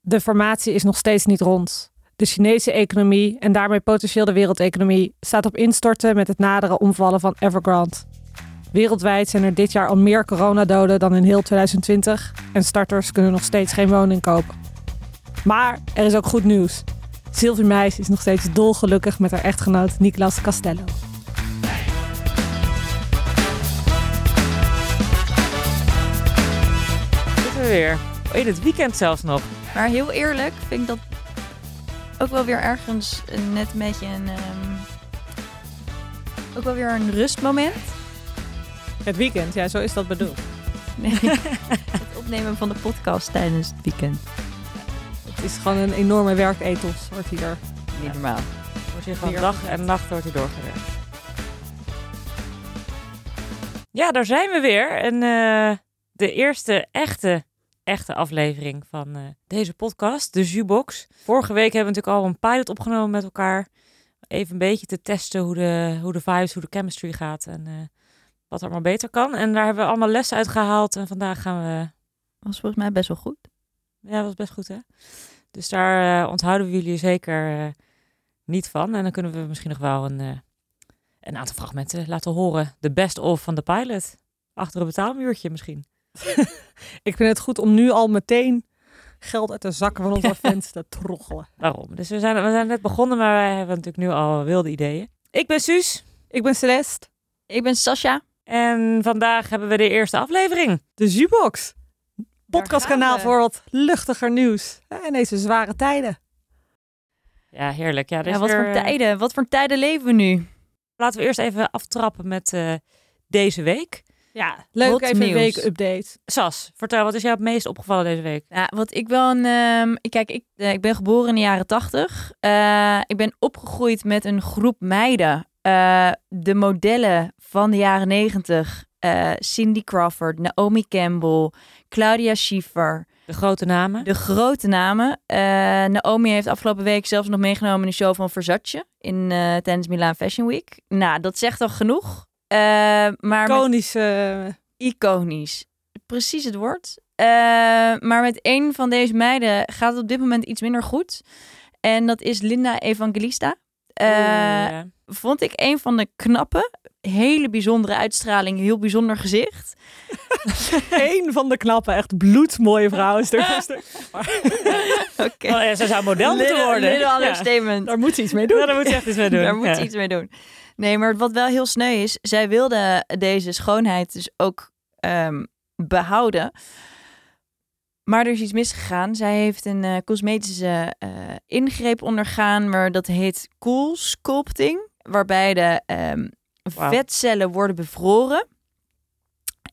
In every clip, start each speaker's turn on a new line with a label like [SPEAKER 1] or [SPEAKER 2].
[SPEAKER 1] de formatie is nog steeds niet rond. De Chinese economie en daarmee potentieel de wereldeconomie staat op instorten met het nadere omvallen van Evergrande. Wereldwijd zijn er dit jaar al meer coronadoden dan in heel 2020 en starters kunnen nog steeds geen woning kopen. Maar er is ook goed nieuws. Sylvie Meis is nog steeds dolgelukkig met haar echtgenoot Nicolas Castello.
[SPEAKER 2] Zitten we weer. Oh, In het weekend zelfs nog.
[SPEAKER 3] Maar heel eerlijk vind ik dat ook wel weer ergens een- net een beetje een... ehm, ook wel weer een rustmoment.
[SPEAKER 1] Het weekend, ja, zo is dat bedoeld.
[SPEAKER 3] Nee. het opnemen van de podcast tijdens het weekend.
[SPEAKER 1] Het is gewoon een enorme werketels, wordt hier.
[SPEAKER 3] Niet normaal.
[SPEAKER 2] Wordt hier gewoon
[SPEAKER 1] Weer
[SPEAKER 2] dag
[SPEAKER 1] opgezet.
[SPEAKER 2] en nacht wordt hier doorgewerkt. Ja, daar zijn we weer. En eh, de eerste echte, echte aflevering van eh, deze podcast, de Jubox. Vorige week hebben we natuurlijk al een pilot opgenomen met elkaar. Even een beetje te testen hoe de, hoe de vibes, hoe de chemistry gaat en eh, wat er maar beter kan. En daar hebben we allemaal lessen uit gehaald. En vandaag gaan we
[SPEAKER 3] was volgens mij best wel goed.
[SPEAKER 2] ja, dat was best goed, hè? Dus daar eh, onthouden we jullie zeker eh, niet van. En dan kunnen we misschien nog wel een, eh, een aantal fragmenten laten horen. De best-of van de pilot. Achter een betaalmuurtje misschien.
[SPEAKER 1] Ik vind het goed om nu al meteen geld uit de zakken van onze fans te troggelen.
[SPEAKER 2] Daarom. Dus we zijn, we zijn net begonnen, maar wij hebben natuurlijk nu al wilde ideeën. Ik ben Suus
[SPEAKER 1] Ik ben Celeste,
[SPEAKER 3] Ik ben Sascha.
[SPEAKER 2] en vandaag hebben we de eerste aflevering.
[SPEAKER 1] de Zubox.
[SPEAKER 3] gaan
[SPEAKER 1] Podcastkanaal
[SPEAKER 3] we.
[SPEAKER 1] voor wat luchtiger nieuws. En deze zware tijden.
[SPEAKER 2] Ja, heerlijk. Ja, er is
[SPEAKER 3] Ja, wat
[SPEAKER 2] weer,
[SPEAKER 3] voor
[SPEAKER 2] eh,
[SPEAKER 3] tijden. Wat voor tijden leven we nu?
[SPEAKER 2] Laten we eerst even aftrappen met eh, deze week.
[SPEAKER 1] Ja, leuk
[SPEAKER 3] Hot
[SPEAKER 1] even
[SPEAKER 3] nieuws.
[SPEAKER 1] een week-update.
[SPEAKER 2] Sas, vertel, wat is jou het meest opgevallen deze week?
[SPEAKER 3] Ja, wat ik wel een... ehm, ik- kijk, ik, eh, ik ben geboren in de jaren tachtig. Eh, ik ben opgegroeid met een groep meiden. Eh, de modellen van de jaren negentig. eh, Cindy Crawford, Naomi Campbell, Claudia Schiffer.
[SPEAKER 2] De grote namen.
[SPEAKER 3] De grote namen. Eh, Naomi heeft afgelopen week zelfs nog meegenomen in de show van Versace in, eh, tijdens Milaan Fashion Week. Nou, dat zegt al genoeg. Eh, maar met-
[SPEAKER 1] Iconische...
[SPEAKER 3] iconisch. Precies het woord. Eh, maar met één van deze meiden gaat het op dit moment iets minder goed. En dat is Linda Evangelista. Eh,
[SPEAKER 2] Oeh, ja.
[SPEAKER 3] vond ik een van de knappe, hele bijzondere uitstraling, heel bijzonder gezicht.
[SPEAKER 1] Eén eh, van de knappen, echt bloedmooie vrouw is er. Dus er-
[SPEAKER 3] Oké.
[SPEAKER 2] Oh, ja, ze zou model moeten
[SPEAKER 3] Little-
[SPEAKER 2] worden.
[SPEAKER 3] Little
[SPEAKER 2] Ja.
[SPEAKER 3] understatement.
[SPEAKER 1] Daar moet ze iets mee
[SPEAKER 2] Ja,
[SPEAKER 1] doen.
[SPEAKER 2] daar moet je echt iets mee doen.
[SPEAKER 3] Daar moet
[SPEAKER 2] Ja.
[SPEAKER 3] ze iets mee doen. Nee, maar wat wel heel sneu is, zij wilde deze schoonheid dus ook ehm, behouden. Maar er is iets misgegaan. Zij heeft een eh, cosmetische eh, ingreep ondergaan, maar dat heet cool sculpting, waarbij de ehm,
[SPEAKER 2] Wauw.
[SPEAKER 3] vetcellen worden bevroren.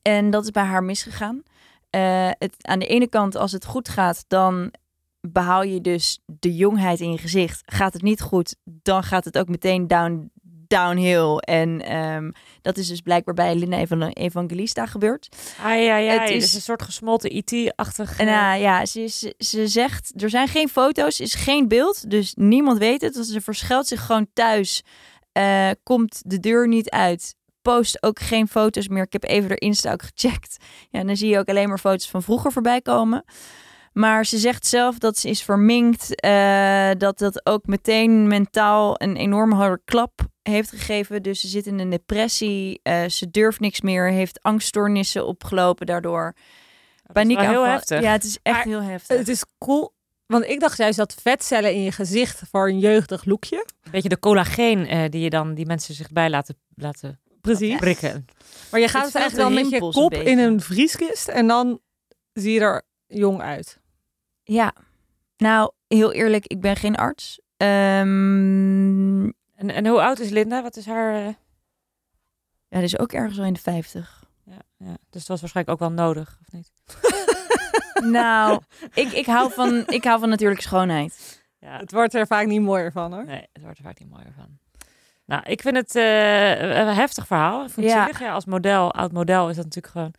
[SPEAKER 3] En dat is bij haar misgegaan. Eh, het, aan de ene kant, als het goed gaat, dan behoud je dus de jongheid in je gezicht. Gaat het niet goed, dan gaat het ook meteen down, downhill. En ehm, dat is dus blijkbaar bij Linda Evan- Evangelista gebeurd.
[SPEAKER 2] Ai, ai, ai. Het
[SPEAKER 3] Het is-
[SPEAKER 2] is een soort gesmolten IT-achtig.
[SPEAKER 3] En
[SPEAKER 2] eh,
[SPEAKER 3] nou ja, ze, ze, ze zegt, er zijn geen foto's, is geen beeld, dus niemand weet het. Dus ze verschuilt zich gewoon thuis, eh, komt de deur niet uit, post ook geen foto's meer. Ik heb even haar Insta ook gecheckt. Ja, en dan zie je ook alleen maar foto's van vroeger voorbij komen. Maar ze zegt zelf dat ze is verminkt, eh, dat dat ook meteen mentaal een enorme harde klap heeft gegeven. Dus ze zit in een depressie, eh, ze durft niks meer, heeft angststoornissen opgelopen daardoor.
[SPEAKER 2] dat is wel
[SPEAKER 3] Paniek
[SPEAKER 2] heel heftig.
[SPEAKER 3] Ja, het is
[SPEAKER 1] Maar
[SPEAKER 3] echt heel heftig.
[SPEAKER 1] Het is cool. Want ik dacht juist dat vetcellen in je gezicht voor een jeugdig lookje.
[SPEAKER 2] Beetje de collageen eh, die je dan die mensen zich bij laten, laten
[SPEAKER 1] Precies.
[SPEAKER 2] prikken.
[SPEAKER 1] Maar je
[SPEAKER 3] Het
[SPEAKER 1] gaat dus
[SPEAKER 3] vult
[SPEAKER 1] eigenlijk
[SPEAKER 3] de
[SPEAKER 1] dan met je
[SPEAKER 3] rimpels een
[SPEAKER 1] kop
[SPEAKER 3] beetje.
[SPEAKER 1] in een vrieskist en dan zie je er jong uit.
[SPEAKER 3] Eh, Ja. Nou, heel eerlijk, ik ben geen arts. Ehm,
[SPEAKER 2] En, en hoe oud is Linda? Wat is haar... eh,
[SPEAKER 3] ja, dat is ook ergens al in de 50.
[SPEAKER 2] Ja, ja. Dus dat was waarschijnlijk ook wel nodig, of niet?
[SPEAKER 3] nou, ik, ik, hou van, ik hou van natuurlijk schoonheid.
[SPEAKER 2] Ja.
[SPEAKER 1] Het wordt er vaak niet mooier van hoor.
[SPEAKER 2] Nee, het wordt er vaak niet mooier van. Nou, ik vind het eh, een heftig verhaal. Ik vind het
[SPEAKER 3] Ja.
[SPEAKER 2] zielig. Ja, als model, oud model, is dat natuurlijk gewoon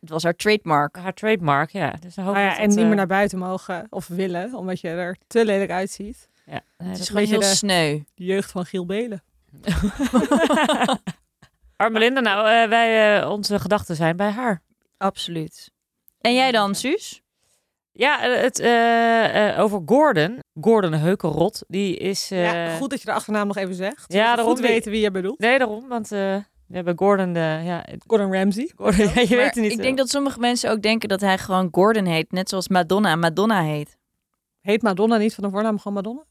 [SPEAKER 3] Het was haar trademark.
[SPEAKER 2] haar trademark. Ja. Dus dan hoop
[SPEAKER 1] Nou
[SPEAKER 2] ik
[SPEAKER 1] ja,
[SPEAKER 2] dat
[SPEAKER 1] en
[SPEAKER 2] dat,
[SPEAKER 1] niet meer
[SPEAKER 2] eh,
[SPEAKER 1] naar buiten mogen of willen, omdat je er te lelijk uitziet.
[SPEAKER 2] Ja, nee,
[SPEAKER 3] Het
[SPEAKER 2] dat-
[SPEAKER 3] is gewoon
[SPEAKER 1] beetje
[SPEAKER 3] heel
[SPEAKER 1] de-
[SPEAKER 3] sneu.
[SPEAKER 1] De jeugd van Giel Belen.
[SPEAKER 2] Arme Linda, nou, eh, wij, eh, onze gedachten zijn bij haar.
[SPEAKER 3] Absoluut. En jij dan, Suus?
[SPEAKER 2] Ja, het, eh, eh, over Gordon. Gordon Heukelrot. Die is... eh,
[SPEAKER 1] ja, goed dat je de achternaam nog even zegt.
[SPEAKER 2] Ja,
[SPEAKER 1] Ja,
[SPEAKER 2] daarom
[SPEAKER 1] goed
[SPEAKER 2] die-
[SPEAKER 1] weten wie je bedoelt.
[SPEAKER 2] Nee, daarom. Want eh, we hebben Gordon... eh, ja,
[SPEAKER 1] Gordon Ramsay.
[SPEAKER 2] Gordon, ja, je
[SPEAKER 3] Maar
[SPEAKER 2] weet het niet. eh.
[SPEAKER 3] Ik denk dat sommige mensen ook denken dat hij gewoon Gordon heet. Net zoals Madonna Madonna heet.
[SPEAKER 1] Heet Madonna niet van de voornaam gewoon Madonna?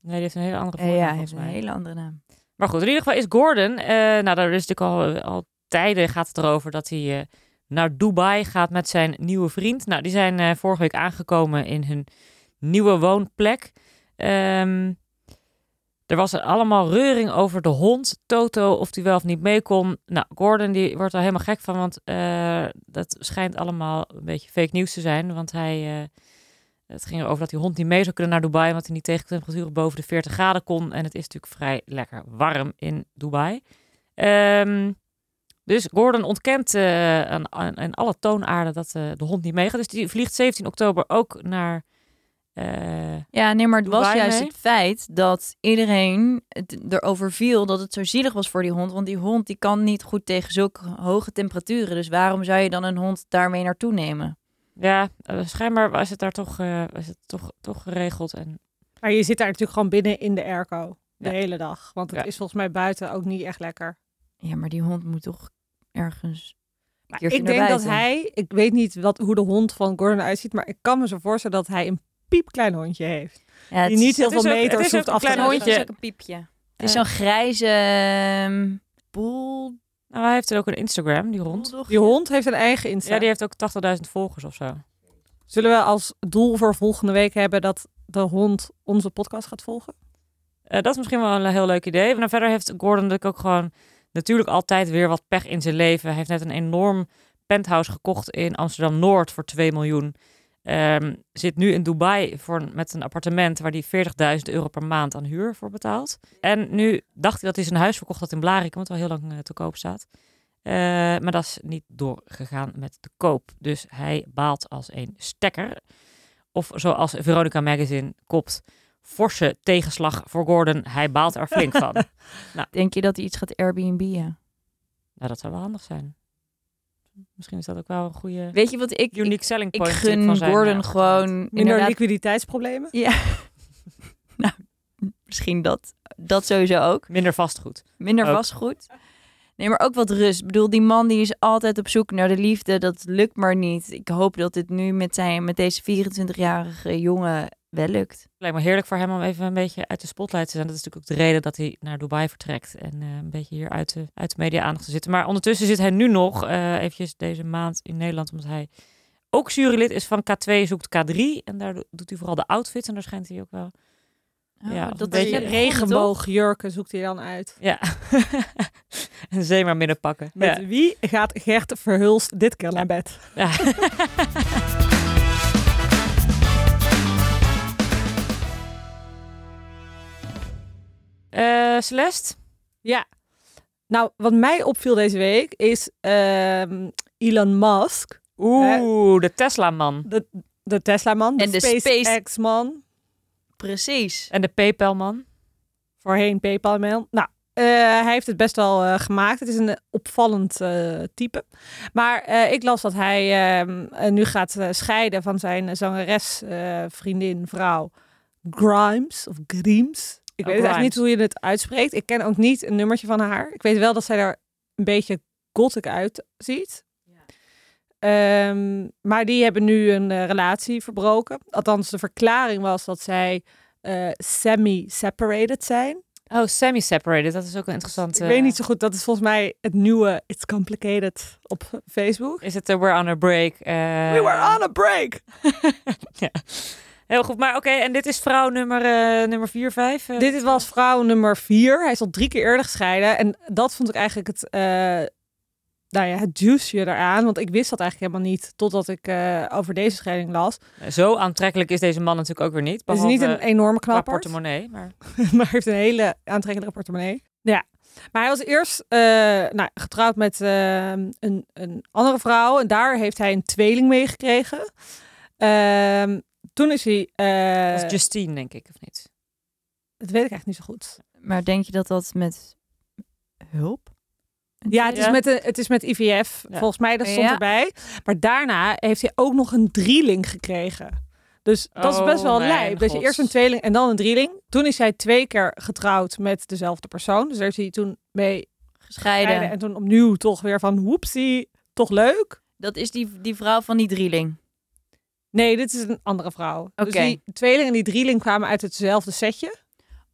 [SPEAKER 2] Nee, die heeft een hele andere
[SPEAKER 3] Eh,
[SPEAKER 2] voornaam
[SPEAKER 3] ja, hij
[SPEAKER 2] volgens
[SPEAKER 3] heeft een
[SPEAKER 2] mij.
[SPEAKER 3] hele andere naam.
[SPEAKER 2] Maar goed, in ieder geval is Gordon... eh, nou, daar is natuurlijk al, al tijden gaat het erover dat hij eh, naar Dubai gaat met zijn nieuwe vriend. Nou, die zijn eh, vorige week aangekomen in hun nieuwe woonplek. Ehm, er was allemaal reuring over de hond, Toto, of die wel of niet mee kon. Nou, Gordon die wordt er helemaal gek van, want eh, dat schijnt allemaal een beetje fake nieuws te zijn. Want hij, eh, het ging erover dat die hond niet mee zou kunnen naar Dubai, want hij niet tegen temperaturen boven de 40 graden kon. En het is natuurlijk vrij lekker warm in Dubai. Ehm, dus Gordon ontkent eh, aan, aan, aan alle toonaarden dat eh, de hond niet meegaat. Dus die vliegt 17 oktober ook naar... eh,
[SPEAKER 3] Ja, nee, maar het was
[SPEAKER 2] Dubai
[SPEAKER 3] juist
[SPEAKER 2] mee?
[SPEAKER 3] het feit dat iedereen het erover viel dat het zo zielig was voor die hond. Want die hond die kan niet goed tegen zulke hoge temperaturen. Dus waarom zou je dan een hond daarmee naartoe nemen?
[SPEAKER 2] Ja, eh, schijnbaar was het daar toch, eh, was het toch, toch geregeld. En,
[SPEAKER 1] Maar je zit daar natuurlijk gewoon binnen in de airco. De
[SPEAKER 2] Ja.
[SPEAKER 1] hele dag. Want het
[SPEAKER 2] Ja.
[SPEAKER 1] is volgens mij buiten ook niet echt lekker.
[SPEAKER 3] Ja, maar die hond moet toch ergens.
[SPEAKER 1] Maar
[SPEAKER 3] keertje
[SPEAKER 1] ik
[SPEAKER 3] naar
[SPEAKER 1] denk dat
[SPEAKER 3] buiten.
[SPEAKER 1] hij, ik weet niet wat, hoe de hond van Gordon uitziet, maar ik kan me zo voorstellen dat hij een piepklein hondje heeft.
[SPEAKER 3] Ja, het
[SPEAKER 1] die niet
[SPEAKER 3] is-
[SPEAKER 1] heel
[SPEAKER 2] het is
[SPEAKER 1] veel
[SPEAKER 2] ook- het
[SPEAKER 1] meters
[SPEAKER 2] is
[SPEAKER 1] hoeft
[SPEAKER 2] ook een
[SPEAKER 1] af te
[SPEAKER 2] klein
[SPEAKER 1] leggen.
[SPEAKER 2] hondje.
[SPEAKER 3] Het is ook een piepje. Het is
[SPEAKER 2] Eh.
[SPEAKER 3] zo'n grijze ehm, boel.
[SPEAKER 2] nou, hij heeft er ook een Instagram, die hond.
[SPEAKER 1] Die hond heeft een eigen
[SPEAKER 2] Ja,
[SPEAKER 1] Insta.
[SPEAKER 2] die heeft ook 80.000 volgers of zo.
[SPEAKER 1] Zullen we als doel voor volgende week hebben dat de hond onze podcast gaat volgen?
[SPEAKER 2] Eh, dat is misschien wel een heel leuk idee. Maar verder heeft Gordon natuurlijk ook gewoon natuurlijk altijd weer wat pech in zijn leven. Hij heeft net een enorm penthouse gekocht in Amsterdam-Noord voor 2 miljoen. Ehm, zit nu in Dubai voor, een- met een appartement waar hij 40.000 euro per maand aan huur voor betaalt. En nu dacht hij dat hij zijn huis verkocht had in Blarikum, wat al heel lang eh, te koop staat. Eh, maar dat is niet doorgegaan met de koop. Dus hij baalt als een stekker. Of zoals Veronica Magazine kopt, forse tegenslag voor Gordon. Hij baalt er flink van.
[SPEAKER 3] Denk je dat hij iets gaat Airbnb'en?
[SPEAKER 2] Nou, dat zou wel handig zijn. Misschien is dat ook wel een goede
[SPEAKER 3] Weet je wat ik... Ik,
[SPEAKER 2] unique selling
[SPEAKER 3] ik
[SPEAKER 2] point tip van
[SPEAKER 3] gun
[SPEAKER 2] zijn, eh,
[SPEAKER 3] Gordon
[SPEAKER 2] achtergrond.
[SPEAKER 3] gewoon
[SPEAKER 1] Minder
[SPEAKER 3] inderdaad
[SPEAKER 1] liquiditeitsproblemen?
[SPEAKER 3] misschien dat. Dat sowieso ook.
[SPEAKER 2] Minder vastgoed.
[SPEAKER 3] Minder
[SPEAKER 2] Ook.
[SPEAKER 3] vastgoed. Nee, maar ook wat rust. Ik bedoel, die man die is altijd op zoek naar de liefde. Dat lukt maar niet. Ik hoop dat dit nu met, zijn, met deze 24-jarige jongen wel lukt.
[SPEAKER 2] Lijkt me heerlijk voor hem om even een beetje uit de spotlight te zijn. Dat is natuurlijk ook de reden dat hij naar Dubai vertrekt. En eh, een beetje hier uit de, uit de media aandacht te zitten. Maar ondertussen zit hij nu nog eh, eventjes deze maand in Nederland. Omdat hij ook jurylid is van K2 zoekt K3. En daar do- doet hij vooral de outfits. En daar schijnt hij ook wel... Ja,
[SPEAKER 3] dat
[SPEAKER 2] een
[SPEAKER 3] is
[SPEAKER 2] beetje
[SPEAKER 3] je
[SPEAKER 1] Regenboogjurken zoekt hij dan uit.
[SPEAKER 2] Ja. en zee maar middenpakken.
[SPEAKER 1] Met
[SPEAKER 2] Ja.
[SPEAKER 1] wie gaat Gert Verhulst dit keer naar bed?
[SPEAKER 2] Ja. Eh, Celeste?
[SPEAKER 1] Ja. Nou, wat mij opviel deze week is ehm, Elon Musk, Eh.
[SPEAKER 2] Oeh, de Tesla-man.
[SPEAKER 1] de, de Tesla-man, de,
[SPEAKER 3] En de
[SPEAKER 1] SpaceX-man,
[SPEAKER 3] Precies.
[SPEAKER 2] En de PayPal-man.
[SPEAKER 1] voorheen PayPal-man. Nou, eh, hij heeft het best wel eh, gemaakt. Het is een eh, opvallend eh, type. Maar eh, ik las dat hij ehm, eh, nu gaat eh, scheiden van zijn zangeres, eh, vriendin, vrouw Grimes of Grimes. Ik
[SPEAKER 2] Oh,
[SPEAKER 1] weet echt
[SPEAKER 2] Grimes.
[SPEAKER 1] niet hoe je het uitspreekt. Ik ken ook niet een nummertje van haar. Ik weet wel dat zij er een beetje gothic uitziet. Ehm, maar die hebben nu een eh, relatie verbroken. Althans, de verklaring was dat zij eh, semi-separated zijn.
[SPEAKER 2] Oh, semi-separated. Dat is ook een interessante...
[SPEAKER 1] Ik weet niet zo goed. Dat is volgens mij het nieuwe It's Complicated op Facebook.
[SPEAKER 2] Is het eh, We're on a Break? eh,
[SPEAKER 1] We were on a break.
[SPEAKER 2] ja. Heel goed. Maar oké, en dit is vrouw nummer 4, nummer eh. 5?
[SPEAKER 1] Dit is- was vrouw nummer vier. Hij is al drie keer eerder gescheiden. En dat vond ik eigenlijk het, eh nou ja, het juice eraan. Want ik wist dat eigenlijk helemaal niet totdat ik eh, over deze scheiding las. Dus
[SPEAKER 2] Zo aantrekkelijk is deze man natuurlijk ook weer niet.
[SPEAKER 1] Het is
[SPEAKER 2] Behalve
[SPEAKER 1] niet een enorme
[SPEAKER 2] qua
[SPEAKER 1] knappert.
[SPEAKER 2] portemonnee. Maar...
[SPEAKER 1] maar heeft een hele aantrekkelijke portemonnee. Ja. Maar hij was eerst eh, nou, getrouwd met eh, een, een andere vrouw. En daar heeft hij een tweeling mee gekregen. Ehm, toen is hij... eh,
[SPEAKER 2] Dat is Justine, denk ik, of niet?
[SPEAKER 1] Dat weet ik eigenlijk niet zo goed.
[SPEAKER 3] Maar denk je dat dat met hulp?
[SPEAKER 1] Ja, het is,
[SPEAKER 2] Ja.
[SPEAKER 1] Met de, het is met IVF.
[SPEAKER 2] Ja.
[SPEAKER 1] Volgens mij, dat stond
[SPEAKER 3] Ja.
[SPEAKER 1] erbij. Maar daarna heeft hij ook nog een drieling gekregen. Dus dat is
[SPEAKER 2] Oh,
[SPEAKER 1] best wel
[SPEAKER 2] mijn
[SPEAKER 1] lijp. Dat je
[SPEAKER 2] god.
[SPEAKER 1] eerst een tweeling en dan een drieling. Toen is hij twee keer getrouwd met dezelfde persoon. Dus daar is hij toen mee
[SPEAKER 3] Gescheiden.
[SPEAKER 1] gescheiden. En toen opnieuw toch weer van, hoepsie, toch leuk.
[SPEAKER 3] Dat is die, die vrouw van die drieling.
[SPEAKER 1] Nee, dit is een andere vrouw. Dus
[SPEAKER 3] Oké.
[SPEAKER 1] die tweeling en die drieling kwamen uit hetzelfde setje.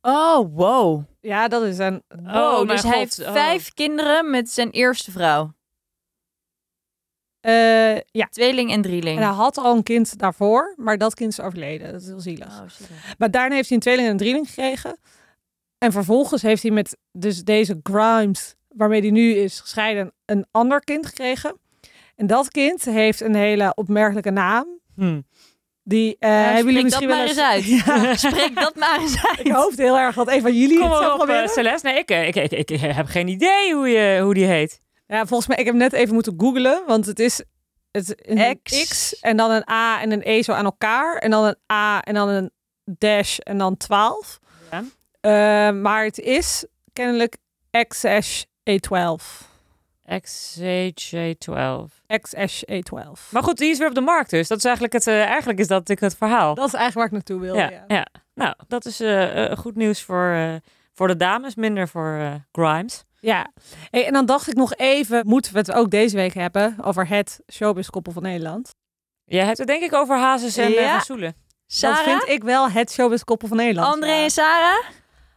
[SPEAKER 3] Oh, wow.
[SPEAKER 1] Ja, dat is een...
[SPEAKER 3] Wow,
[SPEAKER 2] Oh, mijn
[SPEAKER 3] dus hij
[SPEAKER 2] god.
[SPEAKER 3] heeft
[SPEAKER 2] Oh.
[SPEAKER 3] vijf kinderen met zijn eerste vrouw.
[SPEAKER 1] eh, ja.
[SPEAKER 3] Tweeling en drieling.
[SPEAKER 1] En hij had al een kind daarvoor, maar dat kind is overleden. Dat is heel zielig.
[SPEAKER 3] Oh, shit.
[SPEAKER 1] Maar daarna heeft hij een tweeling en een drieling gekregen. En vervolgens heeft hij met dus deze Grimes, waarmee hij nu is gescheiden, een ander kind gekregen. En dat kind heeft een hele opmerkelijke naam.
[SPEAKER 2] Hmm.
[SPEAKER 1] Die eh
[SPEAKER 3] Nou,
[SPEAKER 1] hebben jullie misschien
[SPEAKER 3] spreek dat
[SPEAKER 1] wel
[SPEAKER 3] maar eens uit. Spreek dat maar eens uit.
[SPEAKER 1] Ik hoopte heel erg dat een van jullie
[SPEAKER 2] Kom
[SPEAKER 1] het zou
[SPEAKER 2] maar op, eh,
[SPEAKER 1] proberen.
[SPEAKER 2] Celeste. Nee, ik, eh, ik, ik, ik heb geen idee hoe, je, hoe die heet.
[SPEAKER 1] ja, volgens mij, ik heb net even moeten googlen, want het is het, een
[SPEAKER 3] X.
[SPEAKER 1] X. en dan een A en een E zo aan elkaar. En dan een A en dan een dash en dan 12.
[SPEAKER 2] Ja.
[SPEAKER 1] Eh, maar het is kennelijk E XSH-A12.
[SPEAKER 2] XHJ12.
[SPEAKER 1] XSH-A12.
[SPEAKER 2] Maar goed, die is weer op de markt dus. Dat is eigenlijk het, eh, eigenlijk is dat ik het verhaal.
[SPEAKER 1] Dat is eigenlijk waar ik naartoe wilde.
[SPEAKER 2] ja,
[SPEAKER 1] ja.
[SPEAKER 2] ja. Nou, dat is eh, eh, goed nieuws voor, eh, voor de dames, minder voor eh, Grimes.
[SPEAKER 1] Ja. Hey, en dan dacht ik nog even, moeten we het ook deze week hebben over het showbiz-koppel van Nederland?
[SPEAKER 2] Jij hebt het denk ik over Hazes en eh,
[SPEAKER 3] Ja.
[SPEAKER 2] Van Soelen.
[SPEAKER 1] Dat
[SPEAKER 3] Sarah,
[SPEAKER 1] vind ik wel het showbiz-koppel van Nederland.
[SPEAKER 3] André
[SPEAKER 1] ja.
[SPEAKER 3] en Sarah.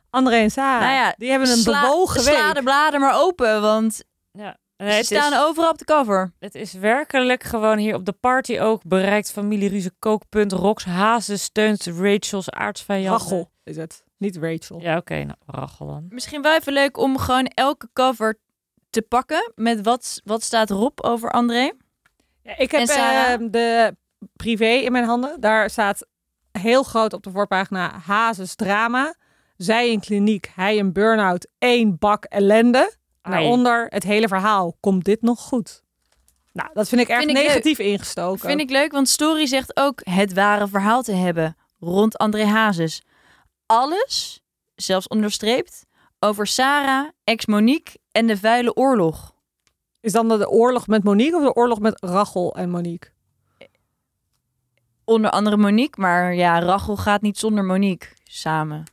[SPEAKER 1] André en Sarah.
[SPEAKER 3] Nou ja,
[SPEAKER 1] die hebben een
[SPEAKER 3] sla,
[SPEAKER 1] bewogen
[SPEAKER 3] sla
[SPEAKER 1] week.
[SPEAKER 3] de bladen maar open, want
[SPEAKER 2] Ja. Nee,
[SPEAKER 3] ze
[SPEAKER 2] het,
[SPEAKER 3] staan
[SPEAKER 2] is,
[SPEAKER 3] overal op de cover.
[SPEAKER 2] het is werkelijk gewoon hier op de party ook bereikt familieruzie kookpunt. Rox Hazes steunt Rachel's aardsvijand.
[SPEAKER 1] Rachel eh, is het. Niet Rachel.
[SPEAKER 2] Ja, oké. nou, Rachel dan.
[SPEAKER 3] Misschien wel even leuk om gewoon elke cover te pakken met wat, wat staat Rob over André.
[SPEAKER 1] Ja, ik heb
[SPEAKER 3] En Sarah?
[SPEAKER 1] eh, de privé in mijn handen. Daar staat heel groot op de voorpagina Hazes drama. Zij in kliniek, hij een burn-out, één bak ellende.
[SPEAKER 2] Ai.
[SPEAKER 1] Daaronder het hele verhaal. Komt dit nog goed? Nou, dat vind ik erg
[SPEAKER 3] Vind ik
[SPEAKER 1] negatief ingestoken.
[SPEAKER 3] Vind ik leuk, want Story zegt ook het ware verhaal te hebben rond André Hazes. Alles, zelfs onderstreept, over Sarah, ex-Monique en de vuile oorlog.
[SPEAKER 1] Is dan de oorlog met Monique of de oorlog met Rachel en Monique?
[SPEAKER 3] Onder andere Monique, maar ja, Rachel gaat niet zonder Monique samen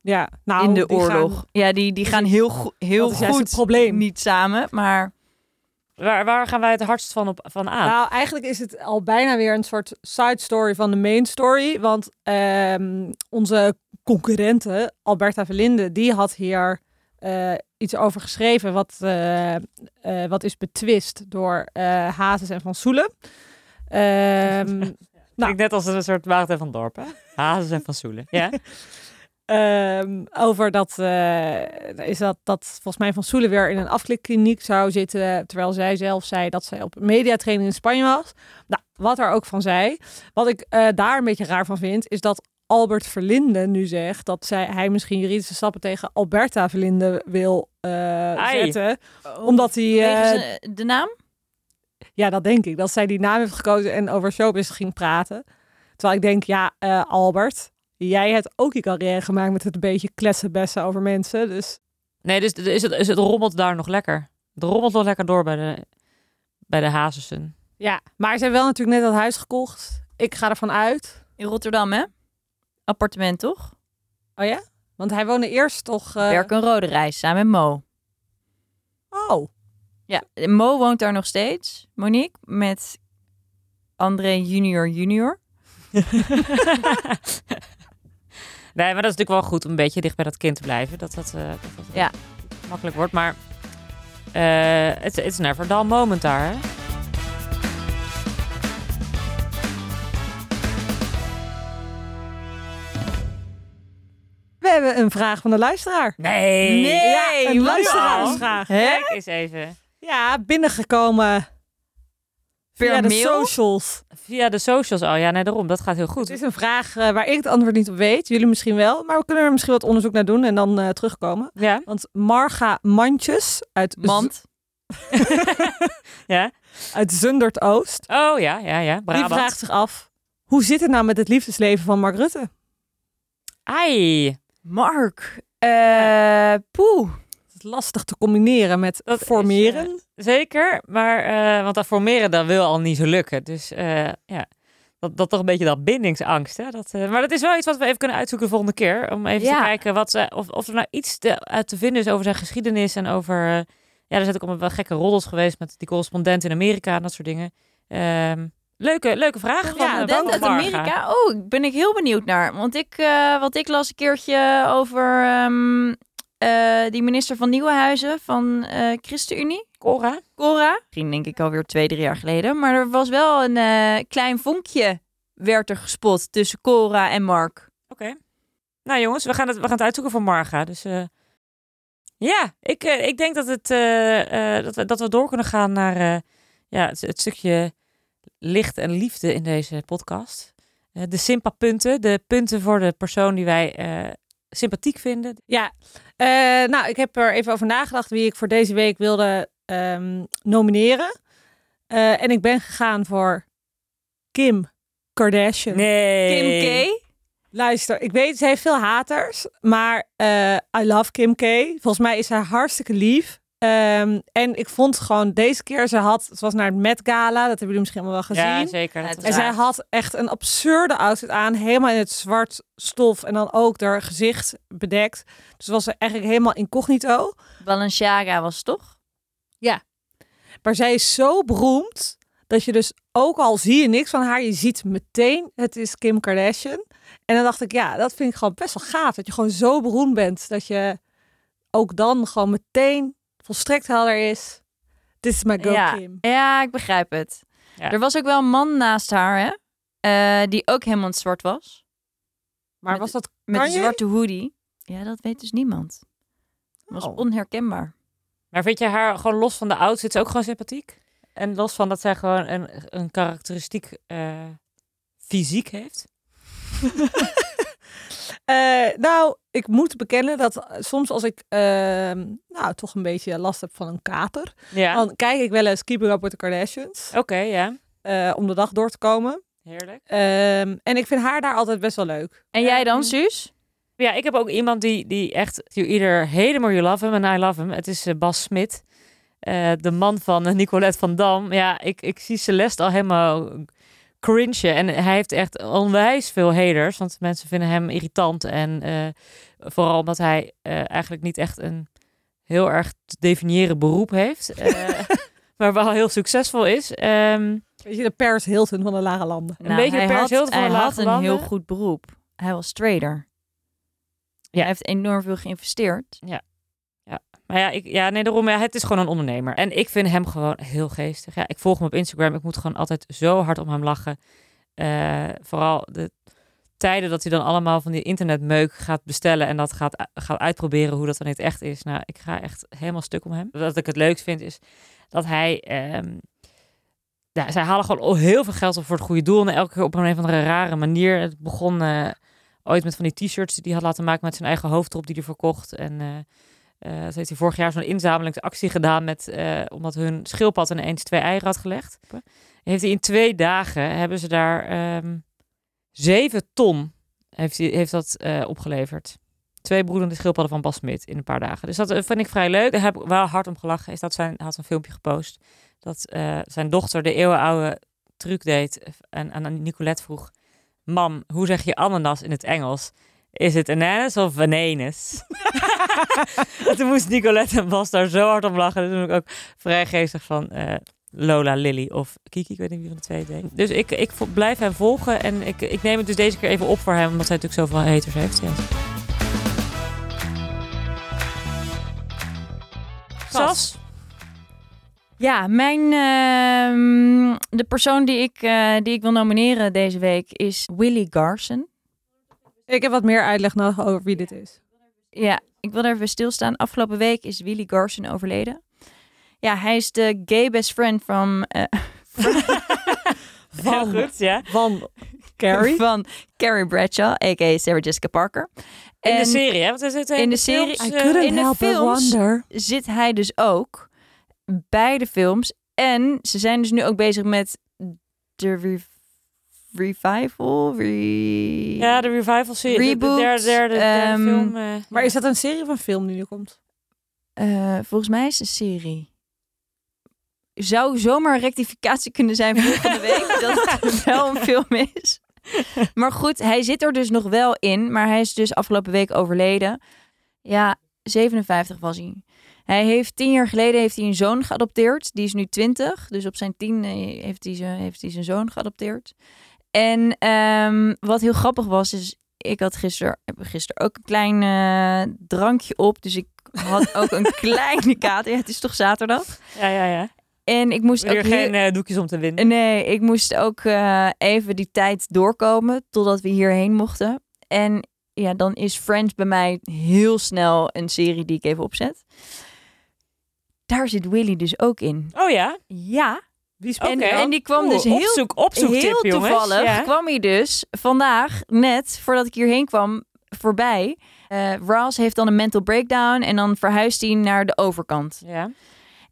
[SPEAKER 1] Ja, nou,
[SPEAKER 3] in de
[SPEAKER 1] die gaan-
[SPEAKER 3] oorlog. ja, die, die gaan heel, go- heel
[SPEAKER 1] dat is juist
[SPEAKER 3] goed
[SPEAKER 1] het probleem.
[SPEAKER 3] niet samen, maar
[SPEAKER 2] Waar, waar gaan wij het hardst van, op, van aan?
[SPEAKER 1] Nou, eigenlijk is het al bijna weer een soort side story van de main story. Want ehm, onze concurrente, Alberta Verlinde, die had hier eh, iets over geschreven. Wat, eh, eh, wat is betwist door eh Hazes en Van Soelen. Ehm, nou.
[SPEAKER 2] Ik net als een soort Waagd en van Dorpen. Hazes en Van Soelen. Ja.
[SPEAKER 1] Ehm, over dat, eh, is dat, dat volgens mij Van Soelen weer in een afklikkliniek zou zitten. Terwijl zij zelf zei dat zij op een mediatraining in Spanje was. Nou, wat er ook van zij. Wat ik eh, daar een beetje raar van vind, is dat Albert Verlinde nu zegt dat zij, hij misschien juridische stappen tegen Alberta Verlinde wil eh,
[SPEAKER 2] Ai.
[SPEAKER 1] zetten.
[SPEAKER 3] Oh.
[SPEAKER 1] Omdat hij. eh,
[SPEAKER 3] Wegens, eh, de naam?
[SPEAKER 1] ja, dat denk ik. Dat zij die naam heeft gekozen en over showbiz ging praten. Terwijl ik denk, ja, eh, Albert, jij hebt ook je carrière gemaakt met het een beetje kletsenbessen over mensen. Dus
[SPEAKER 2] Nee, dus is het, is het rommelt daar nog lekker. Het rommelt nog lekker door bij de, bij de Hazesen.
[SPEAKER 1] ja, maar ze hebben wel natuurlijk net dat huis gekocht. Ik ga ervan uit.
[SPEAKER 3] In Rotterdam, hè? Appartement, toch?
[SPEAKER 1] Oh ja? Want hij woonde eerst toch... eh,
[SPEAKER 3] Werk een rode reis samen met Mo.
[SPEAKER 1] Oh,
[SPEAKER 3] Ja, Mo woont daar nog steeds, Monique, met André junior junior.
[SPEAKER 2] nee, maar dat is natuurlijk wel goed om een beetje dicht bij dat kind te blijven. Dat dat, eh, dat dat
[SPEAKER 3] Ja.
[SPEAKER 2] makkelijk wordt. Maar eh it's, it's never dull moment daar. Hè?
[SPEAKER 1] we hebben een vraag van de luisteraar.
[SPEAKER 2] Nee.
[SPEAKER 3] Nee,
[SPEAKER 1] ja, een
[SPEAKER 3] wat
[SPEAKER 1] luisteraarsvraag.
[SPEAKER 3] Hè?
[SPEAKER 2] Kijk eens even.
[SPEAKER 1] Ja, binnengekomen
[SPEAKER 3] Per
[SPEAKER 1] via de
[SPEAKER 3] mail?
[SPEAKER 1] socials.
[SPEAKER 2] Via de socials al. Ja, nee, daarom. Dat gaat heel goed.
[SPEAKER 1] Het is een vraag eh, waar ik het antwoord niet op weet. Jullie misschien wel. Maar we kunnen er misschien wat onderzoek naar doen en dan eh, terugkomen.
[SPEAKER 2] Ja,
[SPEAKER 1] Want Marga Mandjes uit,
[SPEAKER 3] Mand.
[SPEAKER 2] ja.
[SPEAKER 1] Z- uit Zundert Oost.
[SPEAKER 2] Oh ja, ja, ja.
[SPEAKER 1] Die
[SPEAKER 2] Brabant.
[SPEAKER 1] vraagt zich af: hoe zit het nou met het liefdesleven van Mark Rutte?
[SPEAKER 2] Ai.
[SPEAKER 3] Mark. Eh, Poeh.
[SPEAKER 1] Het is lastig te combineren met
[SPEAKER 2] Dat is,
[SPEAKER 1] formeren.
[SPEAKER 2] Zeker, maar eh, want dat formeren dat wil al niet zo lukken. Dus eh, ja, dat, dat toch een beetje dat bindingsangst. Hè? Dat, eh, maar dat is wel iets wat we even kunnen uitzoeken de volgende keer. Om even
[SPEAKER 3] Ja.
[SPEAKER 2] te kijken wat ze, of, of er nou iets te, uit te vinden is over zijn geschiedenis. En over, eh, ja, er zijn ook allemaal wel gekke roddels geweest met die correspondent in Amerika en dat soort dingen. Ehm, leuke, leuke vraag van eh,
[SPEAKER 3] Ja,
[SPEAKER 2] Barbara
[SPEAKER 3] dat uit
[SPEAKER 2] Marga.
[SPEAKER 3] Amerika. Oh, ik- ben ik heel benieuwd naar. Want ik, eh, wat ik las een keertje over ehm, eh, die minister van Nieuwenhuizen van eh ChristenUnie.
[SPEAKER 2] Cora?
[SPEAKER 3] Cora. Misschien denk ik alweer twee, drie jaar geleden. Maar er was wel een eh, klein vonkje werd er gespot tussen Cora en Mark.
[SPEAKER 2] Oké. Nou jongens, we gaan, het, we gaan het uitzoeken voor Marga. Dus eh, ja, ik, eh, ik denk dat, het, eh, eh, dat, we, dat we door kunnen gaan naar eh, ja, het, het stukje licht en liefde in deze podcast. Eh, de Simpa-punten, de punten voor de persoon die wij eh, sympathiek vinden.
[SPEAKER 1] Ja, eh, nou, ik heb er even over nagedacht wie ik voor deze week wilde ehm, nomineren. Eh, en ik ben gegaan voor Kim Kardashian.
[SPEAKER 2] Nee.
[SPEAKER 3] Kim K.
[SPEAKER 1] Luister, ik weet, ze heeft veel haters, maar eh, I love Kim K. Volgens mij is zij hartstikke lief. Ehm, en ik vond gewoon deze keer, ze had, ze was naar het Met Gala, dat hebben jullie misschien allemaal wel gezien.
[SPEAKER 2] Ja, zeker.
[SPEAKER 3] Ja,
[SPEAKER 2] Dat
[SPEAKER 3] het
[SPEAKER 2] was
[SPEAKER 1] En
[SPEAKER 3] is
[SPEAKER 1] zij
[SPEAKER 2] waar.
[SPEAKER 1] had echt een absurde outfit aan. Helemaal in het zwart stof. En dan ook haar gezicht bedekt. Dus was ze eigenlijk helemaal incognito.
[SPEAKER 3] Balenciaga was het toch?
[SPEAKER 1] Maar zij is zo beroemd. Dat je dus ook al zie je niks van haar. Je ziet meteen het is Kim Kardashian. En dan dacht ik ja dat vind ik gewoon best wel gaaf. Dat je gewoon zo beroemd bent. Dat je ook dan gewoon meteen volstrekt helder is. Dit is my girl
[SPEAKER 3] ja.
[SPEAKER 1] Kim.
[SPEAKER 3] ja, ik begrijp het.
[SPEAKER 2] Ja.
[SPEAKER 3] Er was ook wel een man naast haar, hè? eh, die ook helemaal in het zwart was.
[SPEAKER 1] Maar
[SPEAKER 3] Met-
[SPEAKER 1] was dat
[SPEAKER 3] Met een
[SPEAKER 1] Kanye?
[SPEAKER 3] zwarte hoodie. Ja, dat weet dus niemand. Was
[SPEAKER 1] Oh.
[SPEAKER 3] onherkenbaar.
[SPEAKER 2] Maar vind je haar gewoon los van de outfit ook gewoon sympathiek? En los van dat zij gewoon een, een karakteristiek eh, fysiek heeft?
[SPEAKER 1] Eh, nou, ik moet bekennen dat eh, soms als ik ehm, nou, toch een beetje last heb van een kater,
[SPEAKER 2] Ja.
[SPEAKER 1] dan kijk ik wel eens Keeping Up With The Kardashians
[SPEAKER 2] Oké, ja.
[SPEAKER 1] eh, om de dag door te komen.
[SPEAKER 2] Heerlijk.
[SPEAKER 1] Ehm, en ik vind haar daar altijd best wel leuk.
[SPEAKER 3] En jij dan, Suus?
[SPEAKER 2] Ja, ik heb ook iemand die, die echt... You either hate him or you love him. En I love him. Het is eh, Bas Smit. Eh, de man van eh, Nicolette van Dam. Ja, ik, ik zie Celeste al helemaal cringe. En hij heeft echt onwijs veel haters. Want mensen vinden hem irritant. En eh, vooral omdat hij eh, eigenlijk niet echt een heel erg te definiëren beroep heeft. Eh, maar wel heel succesvol is. Ehm,
[SPEAKER 1] Weet je, de Paris Hilton van de lage landen.
[SPEAKER 2] Een beetje
[SPEAKER 3] nou, hij
[SPEAKER 2] Paris
[SPEAKER 3] had,
[SPEAKER 2] Hilton van
[SPEAKER 3] hij
[SPEAKER 2] de
[SPEAKER 3] had
[SPEAKER 2] lage
[SPEAKER 3] een
[SPEAKER 2] landen.
[SPEAKER 3] heel goed beroep. Hij was trader.
[SPEAKER 2] Ja.
[SPEAKER 3] Hij heeft enorm veel geïnvesteerd.
[SPEAKER 2] Maar ja, ik, ja nee, daarom, ja, het is gewoon een ondernemer. En ik vind hem gewoon heel geestig. Ja, ik volg hem op Instagram. Ik moet gewoon altijd zo hard om hem lachen. Eh, vooral de tijden dat hij dan allemaal van die internetmeuk gaat bestellen... en dat gaat, u- gaat uitproberen hoe dat dan niet echt is. Nou, ik ga echt helemaal stuk om hem. Wat ik het leukst vind is dat hij... ehm, ja, zij halen gewoon al heel veel geld op voor het goede doel. En elke keer op een of andere rare manier. Het begon eh, ooit met van die t-shirts die hij had laten maken... met zijn eigen hoofd erop die hij verkocht. En... eh, eh ze heeft hij vorig jaar zo'n inzamelingsactie gedaan met, eh, omdat hun schildpad ineens twee eieren had gelegd. Heeft hij in twee dagen hebben ze daar ehm, zeven ton heeft, hij- heeft dat eh, opgeleverd. Twee broedende schildpadden van Bas Smit in een paar dagen. Dus dat eh, vind ik vrij leuk. Daar heb ik wel hard om gelachen. Is dat zijn hij had een filmpje gepost dat eh, zijn dochter de eeuwenoude truc deed eh, en aan Nicolette vroeg: "Mam, hoe zeg je ananas in het Engels? Is het ananas of bananas?" En toen moest Nicolette en Bas daar zo hard om lachen. Dus toen ben ik ook vrij geestig van eh, Lola, Lily of Kiki. Ik weet niet wie van de twee het deed. Dus ik, ik vo- blijf hem volgen. En ik, ik neem het dus deze keer even op voor hem. Omdat hij natuurlijk zoveel haters heeft. Ja. Sas?
[SPEAKER 3] Ja, mijn, ehm, de persoon die ik, eh, die ik wil nomineren deze week is Willy Garson.
[SPEAKER 1] Ik heb wat meer uitleg nodig over wie dit is.
[SPEAKER 3] Ja, ik wil er even bij stilstaan. Afgelopen week is Willy Garson overleden. Ja, hij is de gay best friend van, eh,
[SPEAKER 1] Van,
[SPEAKER 2] Heel goed, ja.
[SPEAKER 1] van Carrie.
[SPEAKER 3] van Carrie Bradshaw, a.k.a. Sarah Jessica Parker.
[SPEAKER 2] In de
[SPEAKER 3] En-
[SPEAKER 2] serie, hè? Want hij zit
[SPEAKER 3] in de
[SPEAKER 2] films,
[SPEAKER 3] serie-
[SPEAKER 1] I
[SPEAKER 2] eh,
[SPEAKER 1] couldn't
[SPEAKER 3] in de
[SPEAKER 1] help but
[SPEAKER 3] films-
[SPEAKER 1] wonder.
[SPEAKER 3] zit hij dus ook bij de films. En ze zijn dus nu ook bezig met de re- revival. Re-
[SPEAKER 2] ja, de revival serie.
[SPEAKER 3] Reboot,
[SPEAKER 2] de derde, derde, derde
[SPEAKER 3] ehm,
[SPEAKER 2] film. eh,
[SPEAKER 1] Maar
[SPEAKER 2] ja.
[SPEAKER 1] is dat een serie van film die nu komt?
[SPEAKER 3] Eh, volgens mij is het een serie. Zou zomaar een rectificatie kunnen zijn volgende week. dat het wel een film is. Maar goed, hij zit er dus nog wel in. Maar hij is dus afgelopen week overleden. Ja, 57 was hij. Hij heeft tien jaar geleden heeft hij een zoon geadopteerd. Die is nu 20. Dus op zijn tien eh, heeft hij zijn, heeft hij zijn zoon geadopteerd. En ehm, wat heel grappig was, is ik had gisteren, heb gisteren ook een klein eh, drankje op. Dus ik had ook een kleine kater. Ja, het is toch zaterdag?
[SPEAKER 2] Ja, ja, ja.
[SPEAKER 3] En ik moest
[SPEAKER 2] Weer
[SPEAKER 3] ook heel-
[SPEAKER 2] geen eh, doekjes om te winden.
[SPEAKER 3] Nee, ik moest ook eh, even die tijd doorkomen totdat we hierheen mochten. En ja, dan is Friends bij mij heel snel een serie die ik even opzet. Daar zit Willy dus ook in.
[SPEAKER 2] Oh ja?
[SPEAKER 3] Ja.
[SPEAKER 2] Wie is
[SPEAKER 3] En, en die kwam
[SPEAKER 2] Oeh,
[SPEAKER 3] dus heel,
[SPEAKER 2] opzoek, opzoektip,
[SPEAKER 3] heel
[SPEAKER 2] jongens.
[SPEAKER 3] toevallig.
[SPEAKER 2] Ja.
[SPEAKER 3] Kwam hij dus vandaag, net voordat ik hierheen kwam, voorbij. Eh Ross heeft dan een mental breakdown en dan verhuist hij naar de overkant.
[SPEAKER 2] Ja.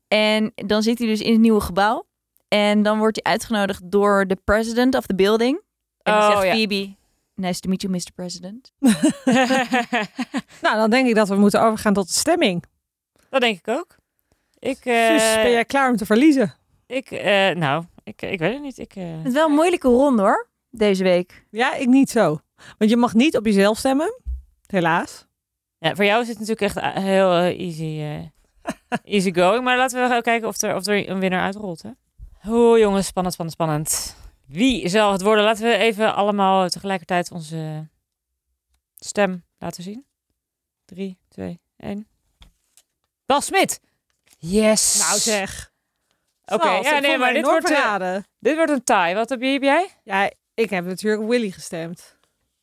[SPEAKER 3] En dan zit hij dus in het nieuwe gebouw. En dan wordt hij uitgenodigd door de president of the building. En dan
[SPEAKER 2] Oh,
[SPEAKER 3] zegt
[SPEAKER 2] ja.
[SPEAKER 3] Phoebe, nice to meet you, Mr. President.
[SPEAKER 1] Nou, dan denk ik dat we moeten overgaan tot de stemming.
[SPEAKER 2] dat denk ik ook. Ik, eh,
[SPEAKER 1] Suus, ben jij klaar om te verliezen?
[SPEAKER 2] ik eh, nou, ik, ik weet het niet. Ik, eh,
[SPEAKER 3] Het is wel een moeilijke ronde hoor, deze week.
[SPEAKER 1] Ja, ik niet zo. Want je mag niet op jezelf stemmen. Helaas.
[SPEAKER 2] ja, voor jou is het natuurlijk echt eh, heel eh, easy, eh, easy going. Maar laten we gaan kijken of er, of er een winnaar uitrolt. Hè? Oh jongens, spannend, spannend, spannend. Wie zal het worden? Laten we even allemaal tegelijkertijd onze stem laten zien. 3, 2, 1. Bas Smit! Yes!
[SPEAKER 1] Nou zeg.
[SPEAKER 2] Oké, ja, nee, maar dit wordt, eh,
[SPEAKER 1] raden.
[SPEAKER 2] dit wordt een tie. Wat heb je- heb jij?
[SPEAKER 1] Ja, ik heb natuurlijk Willy gestemd.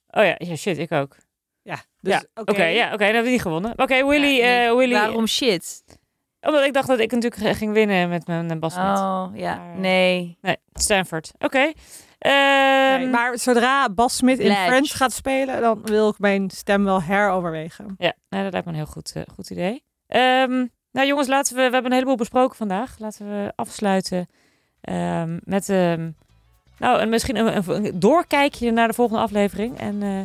[SPEAKER 2] Oh ja, ja shit, ik ook.
[SPEAKER 1] Ja, dus
[SPEAKER 2] ja,
[SPEAKER 1] oké.
[SPEAKER 2] oké, ja, oké, dan hebben we die gewonnen. Oké, Willy,
[SPEAKER 3] Ja, nee,
[SPEAKER 2] eh, Willy.
[SPEAKER 3] Waarom shit?
[SPEAKER 2] Omdat ik dacht dat ik natuurlijk eh, ging winnen met mijn Bas Smit.
[SPEAKER 3] Oh, ja.
[SPEAKER 2] Maar-
[SPEAKER 3] Nee.
[SPEAKER 2] Nee, Stanford. Oké. Ehm,
[SPEAKER 1] Nee, maar zodra Bas Smit in
[SPEAKER 3] Ledge.
[SPEAKER 1] Friends gaat spelen, dan wil ik mijn stem wel heroverwegen.
[SPEAKER 2] Ja, nee, dat lijkt me een heel goed, eh, goed idee. Ehm, nou jongens, laten we, we hebben een heleboel besproken vandaag. Laten we afsluiten ehm, met ehm, nou, en misschien een, een- een doorkijkje naar de volgende aflevering. En eh,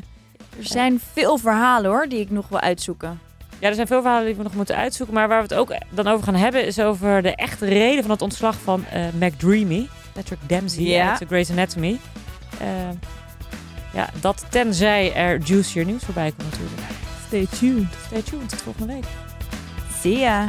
[SPEAKER 3] Er zijn veel verhalen hoor, die ik nog wil uitzoeken.
[SPEAKER 2] Ja, er zijn veel verhalen die we nog moeten uitzoeken. Maar waar we het ook dan over gaan hebben, is over de echte reden van het ontslag van eh McDreamy. Patrick Dempsey
[SPEAKER 3] Ja.
[SPEAKER 2] uit The Grey's Anatomy. Eh, ja, dat tenzij er Nou, juicier nieuws voorbij komt natuurlijk.
[SPEAKER 1] Stay tuned.
[SPEAKER 2] Stay tuned, tot volgende week.
[SPEAKER 3] Zie ya.